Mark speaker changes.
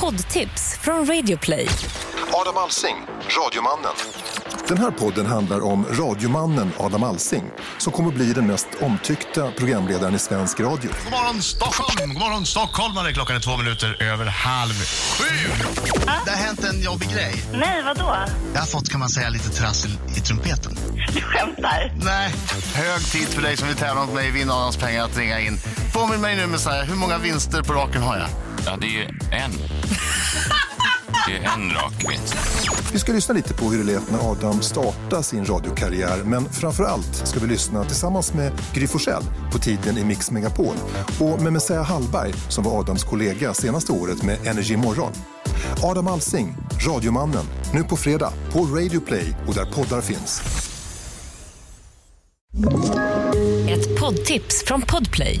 Speaker 1: Poddtips från Radioplay.
Speaker 2: Adam Alsing, radiomannen.
Speaker 3: Den här podden handlar om radiomannen Adam Alsing som kommer bli den mest omtyckta programledaren i svensk radio.
Speaker 4: God morgon Stockholm! God morgon stockholmare! Klockan är två minuter över halv sju. Det har hänt en jobbig grej.
Speaker 5: Nej, vadå?
Speaker 4: Jag har fått kan man säga lite trassel i trumpeten.
Speaker 5: Du skämtar?
Speaker 4: Nej. Hög tid för dig som vill tävla mot mig i Vinn Adams pengar att ringa in. Påminn mig nu med så här, hur många vinster på raken har jag?
Speaker 6: Ja, det är ju en. Det är en rak vinst.
Speaker 3: Vi ska lyssna lite på hur det lät när Adam startade sin radiokarriär men framför allt ska vi lyssna tillsammans med Gry Forssell på tiden i Mix Megapol och med Messiah Hallberg som var Adams kollega senaste året med Energy Morgon. Adam Alsing, Radiomannen, nu på fredag på Radio Play och där poddar finns.
Speaker 1: Ett poddtips från Podplay.